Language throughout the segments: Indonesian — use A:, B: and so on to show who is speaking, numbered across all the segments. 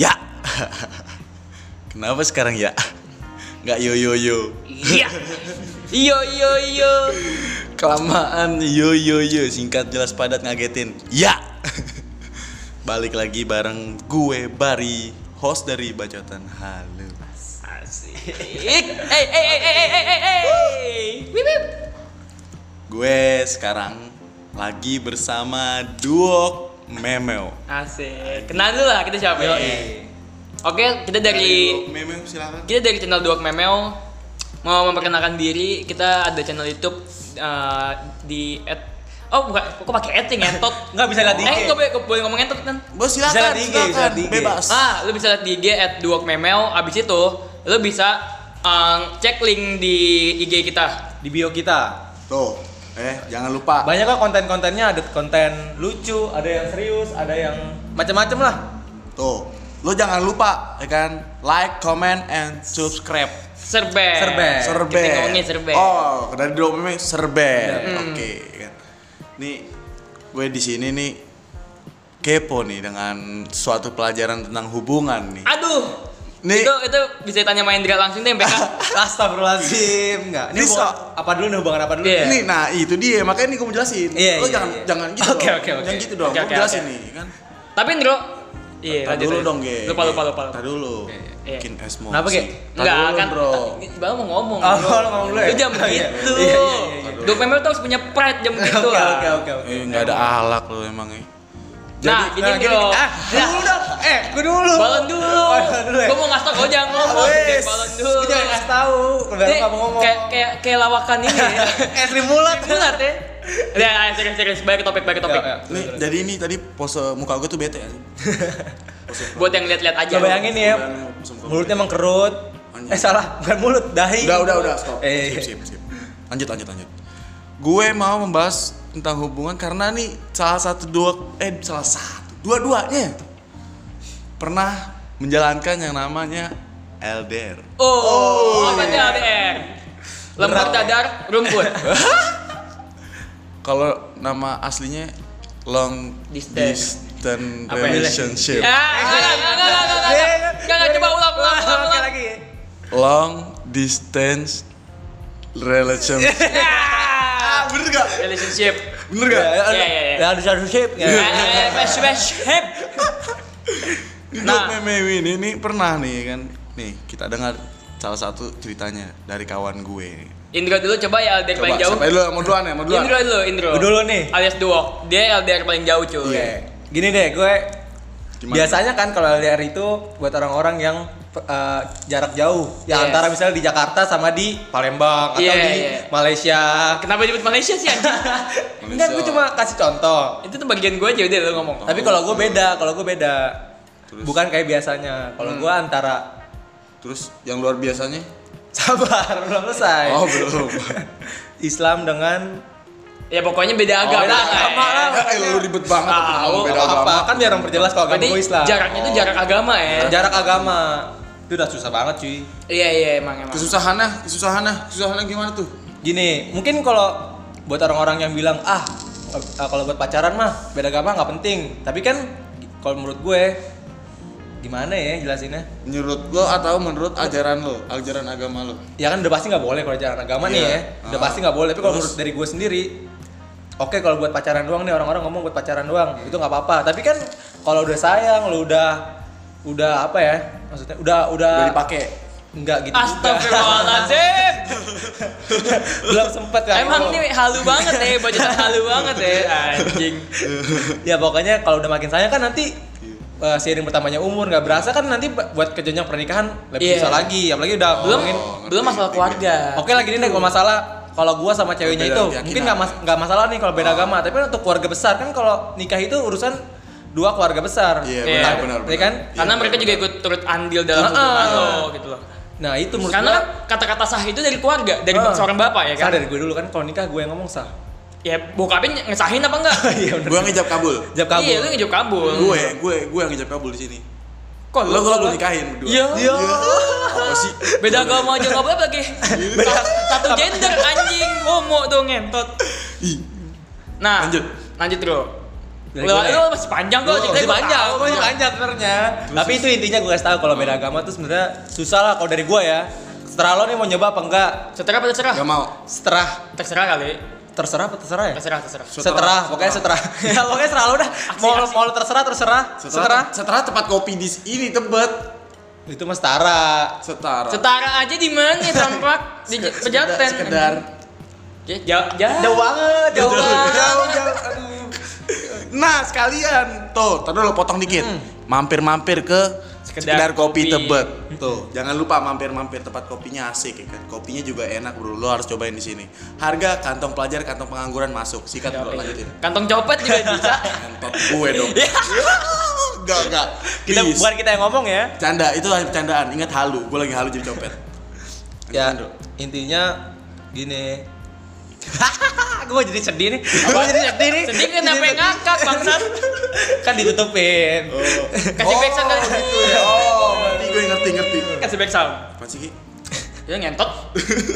A: Ya. Kenapa sekarang ya? Nggak yo yo yo.
B: Iya. Iyo iyo iyo.
A: Kelamaan yo yo yo singkat jelas padat ngagetin. Ya. Balik lagi bareng gue Bari, host dari Bacotan Halo.
B: Asik. Hey hey hey hey hey hey hey. Wip, wip.
A: Gue sekarang lagi bersama duo Memeo.
B: Asik. Kenal dulu lah kita siapa ya? Oke, kita dari
A: Duo Memeo silakan.
B: kita dari channel Duok Memeo mau memperkenalkan diri. Kita ada channel YouTube eh, di at Oh, bukan. Kok pakai eting entot?
C: Nggak bisa lihat di
B: Eh,
C: IG.
B: nggak boleh, nggak boleh ngomong entot kan?
A: Bos silakan,
C: Bisa lihat di IG,
A: silakan.
C: bisa lihat di IG.
A: bebas.
B: Ah, lu bisa lihat di IG at Duok Memeo. Abis itu, lu bisa um, cek link di IG kita.
C: di bio kita.
A: Tuh, eh jangan lupa.
C: Banyak kok konten-kontennya, ada konten lucu, ada yang serius, ada yang macam-macam lah.
A: Tuh, lo jangan lupa ya kan like, comment, and subscribe.
B: Serbe.
C: Serbe.
A: Serbet.
B: Eh, Kita ngomongin serbe.
A: Oh, dari drop ini serbet.
B: Hmm.
A: Oke, ya kan. Nih, gue di sini nih kepo nih dengan suatu pelajaran tentang hubungan nih.
B: Aduh.
A: Nih.
B: Itu itu bisa tanya main Indra langsung deh, MPK.
C: Astagfirullahaladzim, enggak. Ini
A: Bisa.
C: hubungan- apa dulu nih hubungan apa dulu?
B: Iya.
A: Nih, nah itu dia. Makanya nih gue mau jelasin.
C: Iya,
A: lo
C: iya,
A: jangan
C: iya.
A: jangan gitu.
B: Oke,
A: dong.
B: oke, oke.
A: Jangan gitu dong.
B: Oke,
A: gue
B: oke,
A: mau jelasin
B: oke.
A: nih kan.
B: Tapi Indro. Iya,
A: Tar
B: lanjut,
A: dulu
B: lanjut.
A: dong, Ge.
B: Lupa lupa lupa. lupa.
A: Tar dulu.
B: Iya.
A: Bikin es mochi.
C: Kenapa, Ge?
A: Tar
B: Enggak
A: dulu,
B: kan.
A: Bro.
B: Baru mau ngomong.
C: Oh,
B: Bro.
C: lu ngomong dulu ya?
B: Lu jangan
C: Oh, iya.
B: begitu.
C: Iya, iya, iya, iya.
B: Duok Memeo tuh harus punya pride jam gitu
C: Oke,
B: lah.
C: oke, oke, oke.
A: Eh, nggak ada ahlak lo emang eh.
B: Nah,
C: Jadi-
B: gini
C: nah,
B: Bro.
C: Ah, gua dulu dong. Eh, gue dulu.
B: Balon dulu.
C: Oh, balon dulu ya?
B: Gua mau ngasih tau gua jangan ngomong.
C: Wes.
B: Balon dulu.
C: Gua jangan kasih tahu. Udah
B: Nih,
C: enggak mau ngomong.
B: Kayak kayak kayak lawakan ini ya.
C: Eh, Sri Mulat.
B: Benar ya. Ya, ya, serius serius balik ke topik, balik ke topik.
C: Ya, ya.
A: Nih, jadi ini tadi pose muka gue tuh bete anjing. Pose muka.
B: Buat yang lihat-lihat aja.
C: Lo bayangin nih ya,
A: Pose muka gue
C: mulutnya
A: bete.
C: emang kerut.
A: Anjing.
C: Eh salah, bukan mulut, dahi.
A: Udah, udah, udah, stop.
C: Eh,
A: Sip, sip, sip. Lanjut, lanjut, lanjut. Gue mau membahas tentang hubungan karena nih salah satu dua eh salah satu dua-duanya ya. pernah menjalankan yang namanya LDR.
B: Oh,
C: iya,
B: apa itu LDR? Lembut
C: Berat.
B: dadar rumput.
A: Kalau nama aslinya long
B: Distance.
A: distance
B: Apa ya?
A: relationship.
B: Ya,
C: eh,
B: enggak, enggak, enggak, enggak, enggak, enggak, enggak, enggak, enggak, coba ulang, ulang, ulang,
C: Oke,
B: ulang.
C: lagi.
A: Long distance relationship.
B: Ah,
A: bener gak?
B: Relationship. eh,
A: Bener
C: Ya,
A: gak?
C: ya,
B: Iya, iya, iya.
C: ya, harus harus shape. ya.
B: Relationship.
A: Di
B: Nah.
A: Dog Memewi ini, ini pernah nih kan. Nih, kita dengar salah satu ceritanya dari kawan gue.
B: Indro dulu coba ya LDR
A: Coba,
B: paling jauh.
A: siapa dulu? Mau duluan ya? Mau duluan?
B: Indro dulu, Indro.
C: Gua dulu nih. Iya.
B: Alias duo. Dia LDR paling jauh cuy.
C: Oke. Gini deh, gue
A: Iya. Gimana?
C: biasanya kan kalau LDR itu buat orang-orang yang eh, jarak jauh, ya
B: Yes.
C: antara misalnya di Jakarta sama di Palembang atau
B: Iya,
C: di
B: iya.
C: Malaysia.
B: Kenapa nyebut Malaysia sih anjing?
C: Enggak, gue cuma kasih contoh.
B: Itu tuh bagian gue aja udah lu ngomong.
C: Tapi kalau gue beda, kalau gue beda.
A: Oh. Terus? Hmm.
C: Bukan kayak biasanya. Kalau gue antara
A: Terus yang luar biasanya?
C: Sabar, belum selesai.
B: Eh.
A: Oh, belum.
C: Islam dengan
B: Ya pokoknya beda agama
C: Oh, beda
B: lah.
C: agama
B: eh.
C: lah.
A: eh, lu ribet banget
B: Tahu,
A: ngomong
B: Oh,
A: beda
C: apa?
A: agama.
C: Kan biar memperjelas kalau agama
B: Berarti
C: gue Islam. Jarak,
B: jaraknya itu jarak agama ya.
C: agama. Itu udah susah banget cuy.
B: Iya iya emang emang.
A: Kesusahannya, kesusahannya, kesusahannya gimana tuh?
C: Gini, mungkin kalau buat orang-orang yang bilang ah eh, kalau buat pacaran mah beda agama nggak penting. Tapi kan kalau menurut gue gimana ya jelasinnya?
A: Menurut lo atau menurut ajaran lo, ajaran agama lo?
C: Ya kan udah pasti nggak boleh kalau jalan agama nih
A: Iya.
C: ya. Udah
A: Ah.
C: pasti nggak boleh. Tapi kalau
A: Terus?
C: menurut dari gue sendiri, oke kalau buat pacaran doang nih orang-orang ngomong buat pacaran doang itu nggak apa-apa. Tapi kan kalau udah sayang, lu udah udah apa ya? Maksudnya udah udah
A: Udah dipakai.
C: nggak gitu. juga.
B: Astagfirullahaladzim.
C: Belum sempet kan.
B: Emang ini halu banget ya, bacaan halu banget ya, anjing.
C: ya pokoknya kalau udah makin sayang kan nanti
A: Iya.
C: eh, seiring bertambahnya umur nggak berasa kan nanti bu- buat ke jenjang pernikahan lebih
B: Iya.
C: susah lagi apalagi udah
B: Belum
C: ngomongin-
A: ngerti,
B: belum masalah
A: ngerti,
B: keluarga.
C: Oke lah gini deh kalau masalah kalau gua sama ceweknya
A: Beda
C: itu
A: keyakinan. Oh.
C: mungkin nggak mas nggak masalah nih kalau beda agama tapi kan untuk keluarga besar kan kalau nikah itu urusan dua keluarga besar.
A: Iya,
B: Iya.
A: benar, benar,
C: Ya kan?
A: benar.
B: Karena
A: Iya,
B: mereka
A: benar,
B: juga
A: benar.
B: ikut turut andil dalam
C: Nah,
B: hubungan
C: ah.
B: lo gitu loh.
C: Nah itu menurut
B: Karena
C: gua-
B: kan kata-kata sah itu dari keluarga, dari
C: Ah.
B: seorang bapak ya kan.
C: Sah dari gue dulu kan kalau nikah gue yang ngomong sah.
B: Ya bokapnya ngesahin apa enggak?
C: Iya benar.
A: Gue yang ngejawab kabul.
C: Jawab kabul.
B: Iya, lu ngejawab kabul.
A: Gue, gue, gue yang ngejawab kabul di sini.
B: Kok
A: Lo gue lo nikahin berdua.
B: Iya.
C: Iya.
A: Apa sih?
B: Beda agama aja nggak apa-apa lagi. Satu gender anjing homo tuh ngentot.
A: Ih,
B: Nah,
A: Lanjut.
B: lanjut bro.
C: Dari
B: Lewat
C: gue.
B: itu masih panjang kok,
C: Gue
B: ceritanya
C: masih panjang,
B: gua
C: gue masih
B: tahu.
C: panjang sebenarnya. Tapi itu intinya gue kasih tahu kalau beda agama tuh sebenarnya susah lah kalau dari gue ya. Setelah lo nih mau nyoba apa enggak?
B: Seterah apa terserah?
A: Gak mau.
C: Seterah
B: Terserah kali.
C: terserah apa terserah ya?
B: Terserah, terserah.
C: Seterah, pokoknya seterah. ya pokoknya seterah lo dah. Mau
B: Aksi, aksi.
C: mau lo terserah terserah. Seterah.
A: Setelah, setelah tempat kopi di s- ini tebet.
C: Itu mah setara.
A: Setara.
B: Setara aja di mana tampak di
A: Sek-
B: pejaten.
A: Sekedar.
B: Ya, jauh, jauh.
C: Jauh banget, jauh
B: Jauh.
C: banget. Jauh, jauh. Aduh.
A: Nah sekalian tuh, tadi lo potong dikit. Mampir-mampir ke Hmm.
B: Sekedar
A: sekedar, kopi,
B: kopi.
A: Tebet. Tuh, jangan lupa mampir-mampir tempat kopinya asik ya kan. Kopinya juga enak bro, lo harus cobain di sini. Harga kantong pelajar, kantong pengangguran masuk. Sikat bro, lanjutin.
B: Kantong copet juga bisa.
A: Kantor gue dong. Enggak, enggak.
C: Kita
A: Please.
C: bukan kita yang ngomong ya.
A: Canda, itu hanya bercandaan. Ingat halu, gue lagi halu jadi copet.
C: ya
A: Lanjutin, Bro.
C: intinya gini gue jadi sedih nih gue jadi sedih nih
B: Sedih kenapa yang ngakak bangsat?
C: kan ditutupin
A: Oh.
B: Kasih back sound kali.
A: gitu ya. Oh, berarti gue ngerti ngerti.
B: Kasih back sound.
A: Apa sih? Ki?
B: Ya ngentot.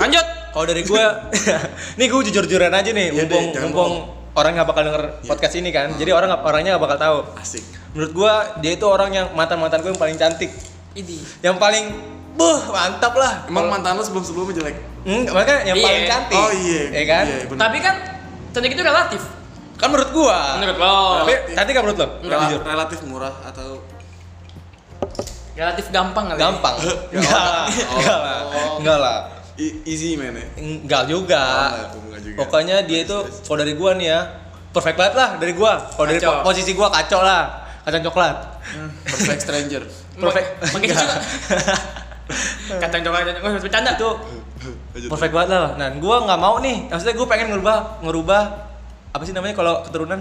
B: Lanjut.
C: kalau dari gue nih gue jujur jujuran aja nih
A: Iya deh,
C: mumpung
A: jangan
C: mumpung orang nggak bakal denger podcast ini kan jadi orang nggak- orangnya nggak bakal tahu
A: Asik.
C: menurut gue dia itu orang yang mantan mantan gue yang paling cantik
B: Idi.
C: yang paling buh mantap lah
A: Emang mantan lo sebelum sebelumnya jelek?
C: hmm, makanya yang
B: Iya.
C: paling cantik
A: Oh iya.
C: ya kan
A: Iya, bener.
B: Tapi kan cantik itu relatif.
C: kan menurut gue
B: Menurut lo.
C: tapi cantik kan menurut lo
A: Rel-
C: jujur
A: relatif murah atau
B: Relatif gampang kali.
C: gampang enggak lah enggak lah
B: Oh.
C: enggak lah
A: e- easy man ya?
C: Enggak juga.
A: Oh, enggak juga.
C: Pokoknya dia itu kalau dari gua nih ya, perfect banget lah dari gua. Kalau dari
B: Kacau.
C: po- posisi gua kacau lah, kacang coklat.
A: Perfect stranger.
C: Perfect.
B: Makanya
C: Enggak.
B: juga. Kacang coklat, kacang coklat, bercanda. Oh.
C: itu
A: Lanjut.
C: perfect banget lah. Nah, gua nggak mau nih. Maksudnya gua pengen ngerubah ngerubah apa sih namanya kalau keturunan?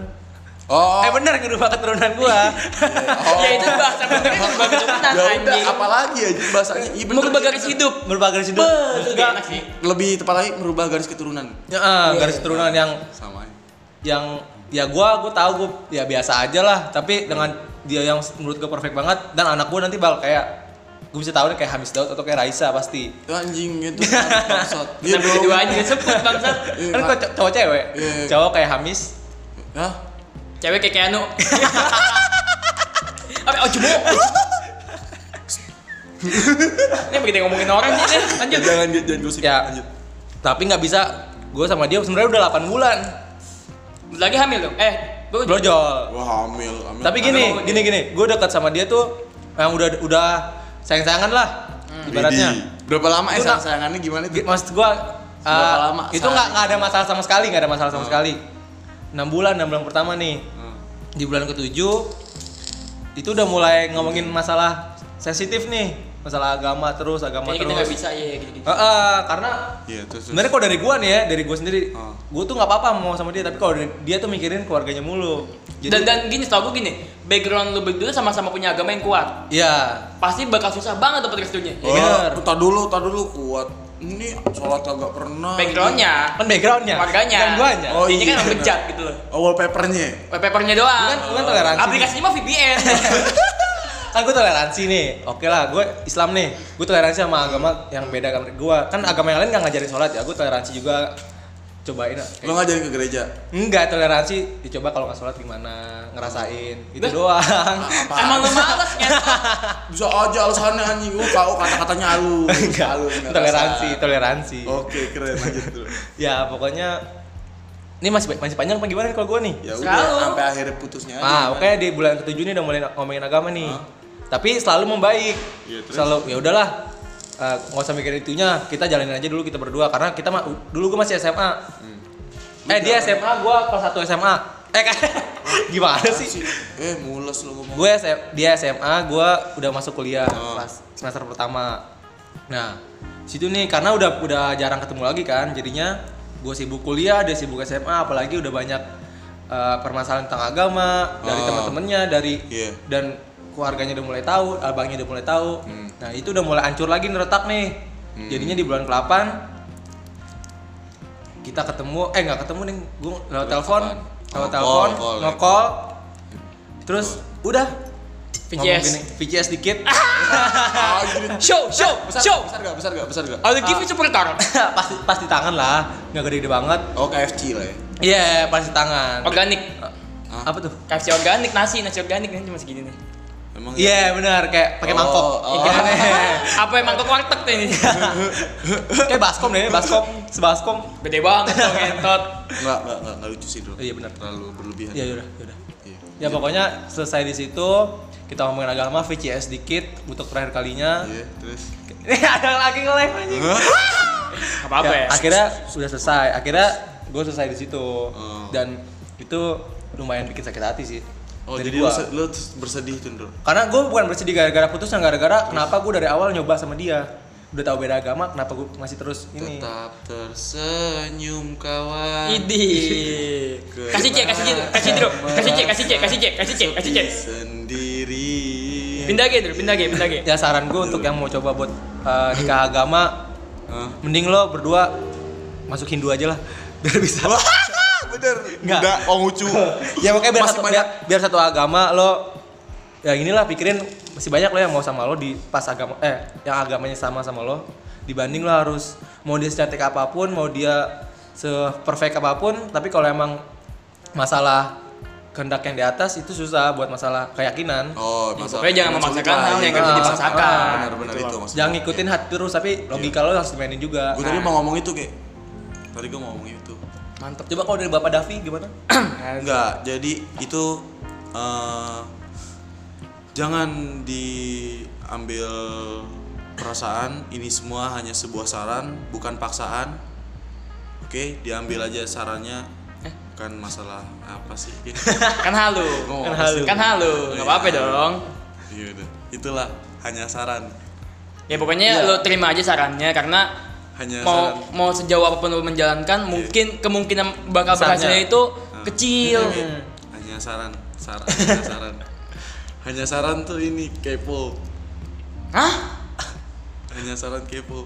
A: Oh.
C: Eh bener ngerubah keturunan gua.
A: Oh.
B: Ya itu bahasa mereka ngerubah keturunan
A: Ya udah,
B: anjing.
A: apalagi ya bahasanya. Iya bener.
B: Merubah garis hidup.
C: Merubah garis hidup.
B: Beuh, itu
C: Enggak.
B: gak enak sih.
A: Lebih tepat lagi merubah garis keturunan.
C: Ya, eh, garis keturunan yang
A: Sama aja.
C: yang ya gua gua tahu gua ya biasa aja lah tapi dengan dia yang menurut gua perfect banget dan anak gua nanti bakal kayak gua bisa tahu nih kayak Hamis Daud atau kayak Raisa pasti
A: Itu anjing itu bangsat. Iya
B: Kenapa
A: bro.
B: dua aja sebut bangsat.
A: Iya,
C: kan
A: Ra-
C: gua co- cowok cewek
A: Iya, iya.
C: cowok kayak Hamis
A: Hah?
B: Cewek kayak Keanu. Apa oh jemu. Ini begitu ngomongin orang sih deh. Lanjut.
A: Jangan jangan gosip.
C: ya
A: Lanjut.
C: tapi nggak bisa gua sama dia sebenarnya udah 8 bulan
B: Bentar Lagi hamil dong. Eh,
A: Oh,
B: bagus.
C: brojol
A: Wah hamil, hamil.
C: tapi gini gini gini gua dekat sama dia tuh yang udah udah sayang-sayangan lah
A: Hmm.
C: ibaratnya
A: Widih. Berapa lama eh
C: Itu nak-
A: sayang-sayangannya gimana tuh?
C: G- maksud gua uh,
A: Berapa lama? Oh.
C: itu nggak nggak ada masalah sama sekali nggak ada masalah sama sekali 6 bulan 6 bulan pertama nih di bulan ketujuh itu udah mulai ngomongin masalah sensitif nih masalah agama terus agama
B: Kayaknya kita
C: terus
B: nggak bisa ya gitu-gitu.
C: Heeh, karena
A: Iya, terus, terus.
C: sebenarnya kalau dari gua nih ya dari gua sendiri
A: Ah.
C: gua tuh nggak apa-apa mau sama dia tapi kalau dari- dia tuh mikirin keluarganya mulu
B: Dan dan gini, setahu gue gini, background lu berdua sama-sama punya agama yang kuat.
C: ya
B: Pasti bakal susah banget dapat restunya.
A: Oh,
C: Bener.
A: tar dulu, tar dulu kuat. Ini sholat kagak pernah.
B: Backgroundnya,
C: kan backgroundnya
B: keluarganya.
C: kan guanya
A: Oh,
B: Ini
A: iya.
B: kan orang bejat gitu loh.
A: Oh, wallpapernya.
B: Wallpapernya doang.
C: Bukan- bukan toleransi.
B: Aplikasinya mah VPN.
C: kan gue toleransi nih oke lah gue Islam nih gue toleransi sama agama yang beda kan gue kan agama yang lain nggak ngajarin sholat ya gue toleransi juga cobain lah
A: Lo ngajarin ke gereja.
C: enggak toleransi dicoba kalau nggak sholat gimana ngerasain itu doang
A: Apa?
B: Emang lu males kan? ngentot.
A: Bisa aja alasannya anjing. Uh, kau kata-katanya halus.
C: enggak
A: Halus, enggak
C: toleransi
A: rasa.
C: toleransi
A: Oke, keren lanjut dulu.
C: ya pokoknya ini masih masih panjang apa gimana nih kalau gue nih
A: Ya
B: Selalu.
A: udah, sampai akhirnya putusnya aja.
C: Ah, oke di bulan ketujuh ini udah mulai ngomongin agama nih. Tapi selalu membaik.
A: Iya, terus?
C: selalu ya udahlah. eh, nggak usah mikirin itunya, kita jalanin aja dulu kita berdua karena kita mah dulu gue masih SMA.
A: Hmm.
C: Eh, dia SMA, gua kelas 1 SMA. Eh, kan gimana sih?
A: Eh, mules lo ngomong.
C: Gue S- dia SMA, gua udah masuk kuliah
A: Oh.
C: kelas semester pertama. Nah, situ nih karena udah udah jarang ketemu lagi kan, jadinya gue sibuk kuliah, dia sibuk SMA, apalagi udah banyak eh, permasalahan tentang agama dari
A: Oh.
C: teman-temannya, dari
A: Iya.
C: dan keluarganya udah mulai tahu, abangnya udah mulai tahu.
A: Hmm.
C: Nah, itu udah mulai hancur lagi nih retak nih. Jadinya di bulan ke-8 kita ketemu, eh nggak ketemu nih, gue lewat telepon,
A: apaan?
C: lewat
A: Oh,
C: telepon,
A: call, call,
C: nge-call. Terus udah ngomong
B: VCS.
C: gini, VCS dikit.
A: Ah, gini.
B: Show, show,
A: Besar,
B: show. Ah.
A: besar gak? Besar gak? Besar gak?
B: I'll give you super car.
C: Ah, pasti pasti tangan lah, nggak gede-gede banget.
A: Oh, KFC lah ya.
C: Iya, pasti tangan.
B: Organik.
A: Ah,
C: Apa tuh?
B: KFC organik nasi, nasi organik ini cuma segini nih.
A: Emang
C: Iya benar kayak pakai
A: Oh,
C: mangkok.
A: oh.
C: Iya, nih.
B: Apa emang ke warteg tuh ini?
C: kayak baskom deh, baskom, sebaskom.
B: Gede banget dong ngentot.
A: Enggak, enggak, enggak, enggak lucu sih dulu.
C: Iya, benar.
A: Terlalu berlebihan.
C: Ya yaudah, yaudah.
A: Iya.
C: Ya pokoknya selesai di situ kita ngomongin agama VCS dikit untuk terakhir kalinya.
A: Iya, terus.
C: Ini ada lagi nge-live anjing.
B: Gak apa-apa ya.
C: Ya, Akhirnya udah selesai. Akhirnya gue selesai di situ. Dan itu lumayan bikin sakit hati sih.
A: Oh,
C: Dari
A: jadi lu,
C: gua.
A: se- lu terus bersedih tuh, Bro.
C: Karena gue bukan bersedih gara-gara putusan, gara-gara kenapa gue dari awal nyoba sama dia. Udah tahu beda agama, kenapa gue masih terus ini?
A: Tetap tersenyum kawan.
B: Idi. Kasih C, kasih C, kasih C, kasih C, kasih C, kasih C, kasih C, kasih C.
A: Sendiri.
B: Pindah G, Dro, pindah G, pindah G.
C: Ya saran gue untuk yang mau coba buat eh, nikah agama,
A: Hah?
C: mending lo berdua masuk Hindu aja lah biar bisa.
A: Ah, Bener.
C: Nggak.
A: Enggak, oh lucu.
C: ya makanya biar
A: Masih
C: satu,
A: banyak.
C: biar, biar satu agama lo ya inilah pikirin masih banyak lo yang mau sama lo di pas agama eh yang agamanya sama sama lo dibanding lo harus mau dia secantik apapun mau dia seperfect apapun tapi kalau emang masalah kehendak yang di atas itu susah buat masalah keyakinan
A: Oh, masa.
B: Pokoknya jangan memaksakan hal
A: gitu.
B: yang gak bisa
C: Ah,
B: dipaksakan.
C: ah,
A: Benar-benar
B: Gitu
A: itu
B: loh.
A: maksudnya.
C: jangan ngikutin hati terus tapi logika lo harus dimainin juga
A: Gue tadi mau ngomong itu, kayak. Tadi gue mau ngomong itu.
B: Mantep.
C: coba kalau dari bapak Davi gimana
A: Enggak, jadi itu eh, jangan diambil perasaan. Ini semua hanya sebuah saran, bukan paksaan. Oke, diambil aja sarannya.
B: Eh?
A: Kan masalah apa sih?
B: Kan halu.
A: Ngomong
C: apa sih?
B: Kan halu. Gak apa-apa dong.
A: Iya udah. Itulah hanya saran.
B: Ya pokoknya lo terima aja sarannya karena
A: Hanya
B: mau
A: Iya, saran.
B: mau sejauh apapun lo menjalankan mungkin kemungkinan bakal berhasilnya itu kecil.
A: iya.
C: Hmm.
A: Hanya saran, saran, hanya saran. Hanya saran tuh ini kepo.
B: Hah?
A: Hanya saran kepo.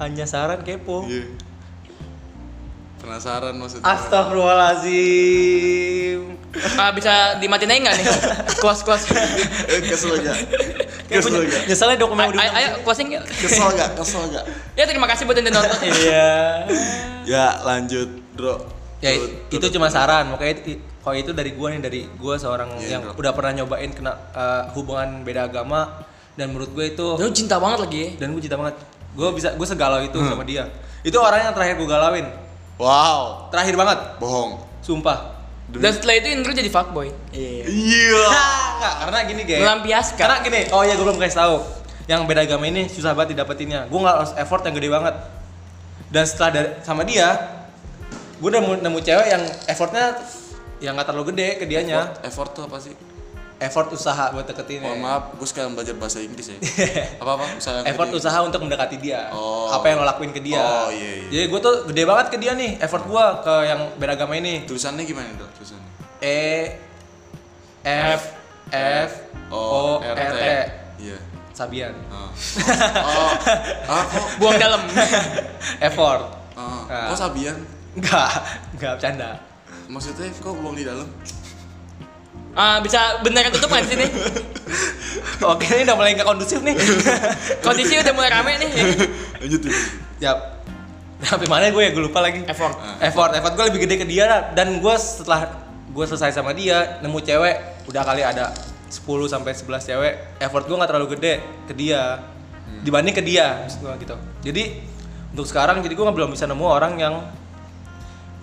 C: hanya saran kepo
A: Iya. Penasaran maksudnya.
C: Astagfirullahalazim
B: Ah, bisa dimatiin aja nggak nih? Close close.
A: Eh, kesel gak?
C: Kayak
A: Kesel
C: punya-
A: gak?
C: Nyeselnya dokumen
B: Ayo,
C: udah
B: ayo closing yuk.
A: Kesel gak? Kesel gak?
B: Ya terima kasih buat yang udah nonton.
C: Iya.
A: Ya lanjut bro
C: Ya
A: Turut-
C: itu
A: turut-
C: cuma saran, makanya itu, kalau itu dari gua nih dari gua seorang
A: Iya,
C: yang
A: bro.
C: udah pernah nyobain kena eh, hubungan beda agama dan menurut gue itu
B: Lu cinta banget lagi. ya.
C: dan gue cinta banget. Gue bisa gue segalau itu
A: Hmm.
C: sama dia. Itu orang yang terakhir gue galauin.
A: Wow
C: Terakhir banget,
A: Bohong
C: sumpah.
B: Dan setelah itu Indra jadi fuckboy. Iya.
A: Iya
C: Enggak, karena gini, guys.
B: Melampiaskan.
C: Karena gini, oh iya gue belum kasih tahu. Yang beda agama ini susah banget didapetinnya. Gue nggak harus effort yang gede banget. Dan setelah dari, sama dia, gue nemu nemu cewek yang effortnya yang nggak terlalu gede ke dianya.
A: Effort- Effort tuh apa sih?
C: Iya, Effort usaha buat deketin. ya.
A: Mohon maaf, gue sekarang belajar bahasa Inggris ya Apa-apa? Usaha yang
C: effort
A: gede.
C: usaha untuk mendekati dia.
A: Oh.
C: Apa yang lo lakuin ke dia.
A: Oh, iya, iya.
C: Jadi gue tuh gede banget ke dia nih, effort gue ke yang beda agama ini.
A: Tulisannya gimana bro? Tulisannya
C: E F F
A: Oh,
C: O Oh, R T
A: Iya
C: Sabian.
A: Oh, oh, ah, kok,
B: Buang dalam.
C: Effort.
A: ah,
C: Ah.
A: kok Sabian?
C: Enggak, enggak bercanda.
A: Maksudnya kok buang di dalam?
B: Ah, bisa beneran tutup nggak di sini?
C: Oke, ini udah mulai nggak kondusif nih.
B: Kondisi udah mulai rame nih.
A: Lanjut dulu
C: Yap. Sampai mana gue ya? Gue lupa lagi.
B: Effort.
A: Ah.
C: Effort, effort gue lebih gede ke dia lah. dan gue setelah gue selesai sama dia nemu cewek udah kali ada 10 sampai 11 cewek effort gue nggak terlalu gede ke dia
A: Hmm.
C: dibanding ke dia maksud gue gitu jadi untuk sekarang jadi gue nggak belum bisa nemu orang yang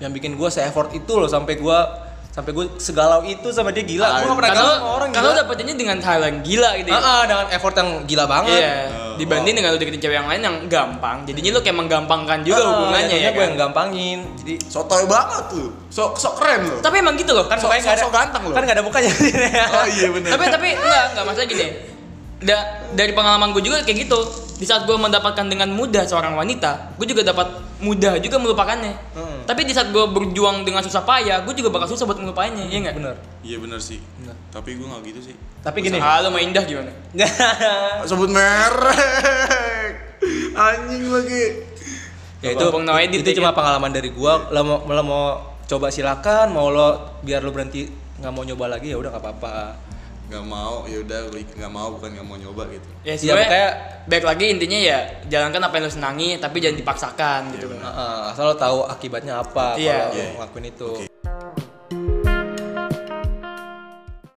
C: yang bikin gue se effort itu loh sampai gue sampai gue segalau itu sama dia gila gue nggak pernah galau
B: Kalau
C: sama orang
B: kalau
C: gila.
B: dapetinnya dengan hal yang gila gitu. ya.
C: Ah, ah, dengan effort yang gila banget
B: Iya. Dibanding dengan lu deketin cewek yang lain yang gampang. Jadinya lu kayak menggampangkan juga
C: Ah,
A: iya,
B: hubungannya ya.
C: jadinya gue yang
B: Kan?
C: gampangin jadi
A: Sotoy banget tuh Sok, sok keren loh
B: Tapi emang gitu loh.
C: kan mukanya nggak ada
A: sok ganteng loh.
C: kan nggak ada mukanya
A: Oh iya bener
B: tapi tapi enggak enggak masalah gini Da- dari pengalaman gue juga kayak gitu di saat gue mendapatkan dengan mudah seorang wanita gue juga dapat mudah juga melupakannya
C: Hmm.
B: tapi di saat gue berjuang dengan susah payah gue juga bakal susah buat melupainnya iya nggak
C: bener
A: Iya bener sih
C: Bener.
A: Tapi gue gak gitu sih
C: tapi gini
B: halo sama Indah gimana Ya,
A: sebut merek anjing lagi
C: ya itu
B: Abang no edit
C: itu
B: ya,
C: cuma pengalaman dari gua lo mau lo mau coba silakan mau lo biar lo berhenti nggak mau nyoba lagi ya udah nggak apa-apa
A: nggak mau ya udah gue nggak mau bukan nggak mau nyoba gitu
B: ya
C: Iya,
B: sih
C: makanya-
B: baik lagi intinya ya jalankan apa yang lo senangi tapi jangan dipaksakan gitu
A: Iya,
B: loh
A: benar.
C: Ah, ah, asal lo tahu akibatnya apa
B: Iya.
C: kalau
A: Iya.
C: ngelakuin itu
A: Oke.